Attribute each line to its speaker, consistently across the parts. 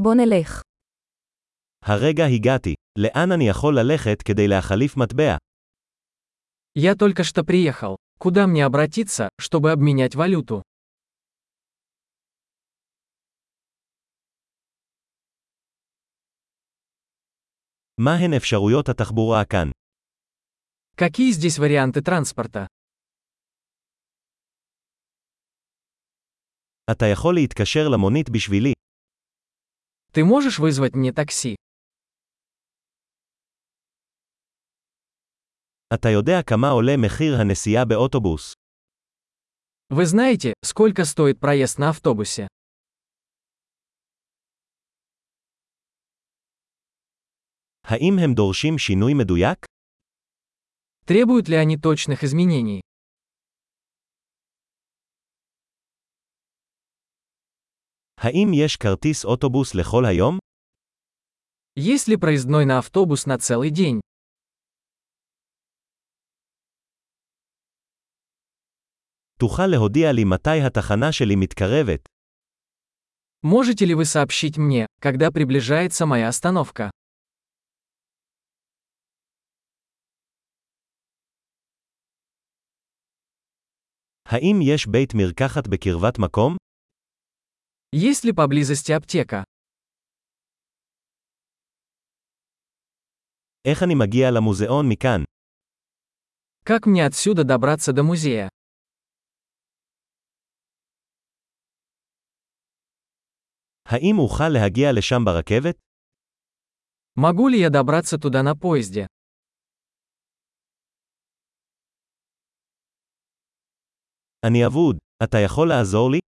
Speaker 1: בוא נלך.
Speaker 2: הרגע הגעתי. לאן אני יכול ללכת כדי להחליף מטבע?
Speaker 3: Я только что приехал. Куда мне обратиться, чтобы обменять валюту?
Speaker 2: מהן אפשרויות התחבורה כאן?
Speaker 3: Какие здесь варианты транспорта?
Speaker 2: אתה יכול להתקשר למונית בשבילי.
Speaker 3: Ты можешь вызвать мне такси?
Speaker 2: אתה יודע כמה עולה מחיר הנסיעה באוטובוס.
Speaker 3: Вы знаете, сколько стоит проезд на автобусе?
Speaker 2: האם הם דורשים שינוי מדויק?
Speaker 3: Требуют ли они точных изменений?
Speaker 2: האם יש כרטיס אוטובוס לכל היום?
Speaker 3: Есть ли проездной на автобус на целый день?
Speaker 2: תוכל להודיע לי מתי התחנה שלי מתקרבת.
Speaker 3: Можете ли вы сообщить мне, когда приближается моя остановка?
Speaker 2: האם יש בית מרקחת בקרבת מקום?
Speaker 3: Есть ли поблизости аптека?
Speaker 2: איך אני מגיע למוזיאון מכאן?
Speaker 3: Как мне отсюда добраться до музея?
Speaker 2: האם אוכל להגיע לשם ברכבת?
Speaker 3: Могу ли я добраться туда на поезде?
Speaker 2: אני אבוד. אתה יכול לעזור לי?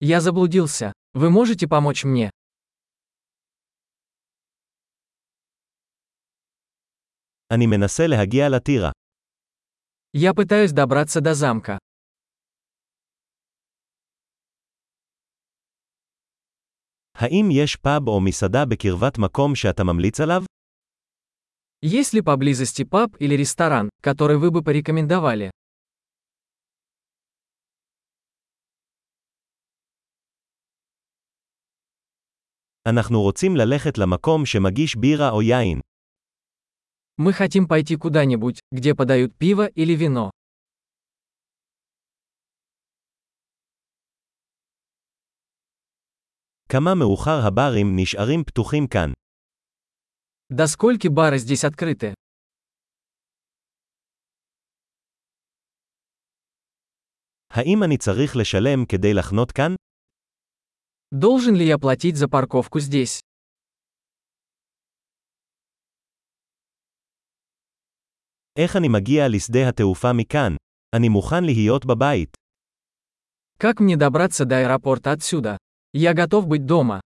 Speaker 3: Я заблудился. Вы можете помочь мне?
Speaker 2: אני מנסה להגיע לטירה.
Speaker 3: Я пытаюсь добраться до замка.
Speaker 2: האם יש פאב או מסעדה בקרבת מקום שאתה ממליץ עליו?
Speaker 3: Есть ли поблизости паб или ресторан, который вы бы порекомендовали?
Speaker 2: אנחנו רוצים ללכת למקום שמגיש בירה או יין.
Speaker 3: Мы хотим пойти куда-нибудь, где подают пиво или вино.
Speaker 2: כמה מאוחר הברים נשארים פתוחים כאן?
Speaker 3: До скольки бары здесь открыты?
Speaker 2: האם אני צריך לשלם כדי לחנות כאן?
Speaker 3: Должен ли я платить за парковку здесь?
Speaker 2: איך אני מגיע לשדה התעופה מכאן? אני מוכן להיות בבית.
Speaker 3: Как мне добраться до аэропорта отсюда? Я готов быть дома.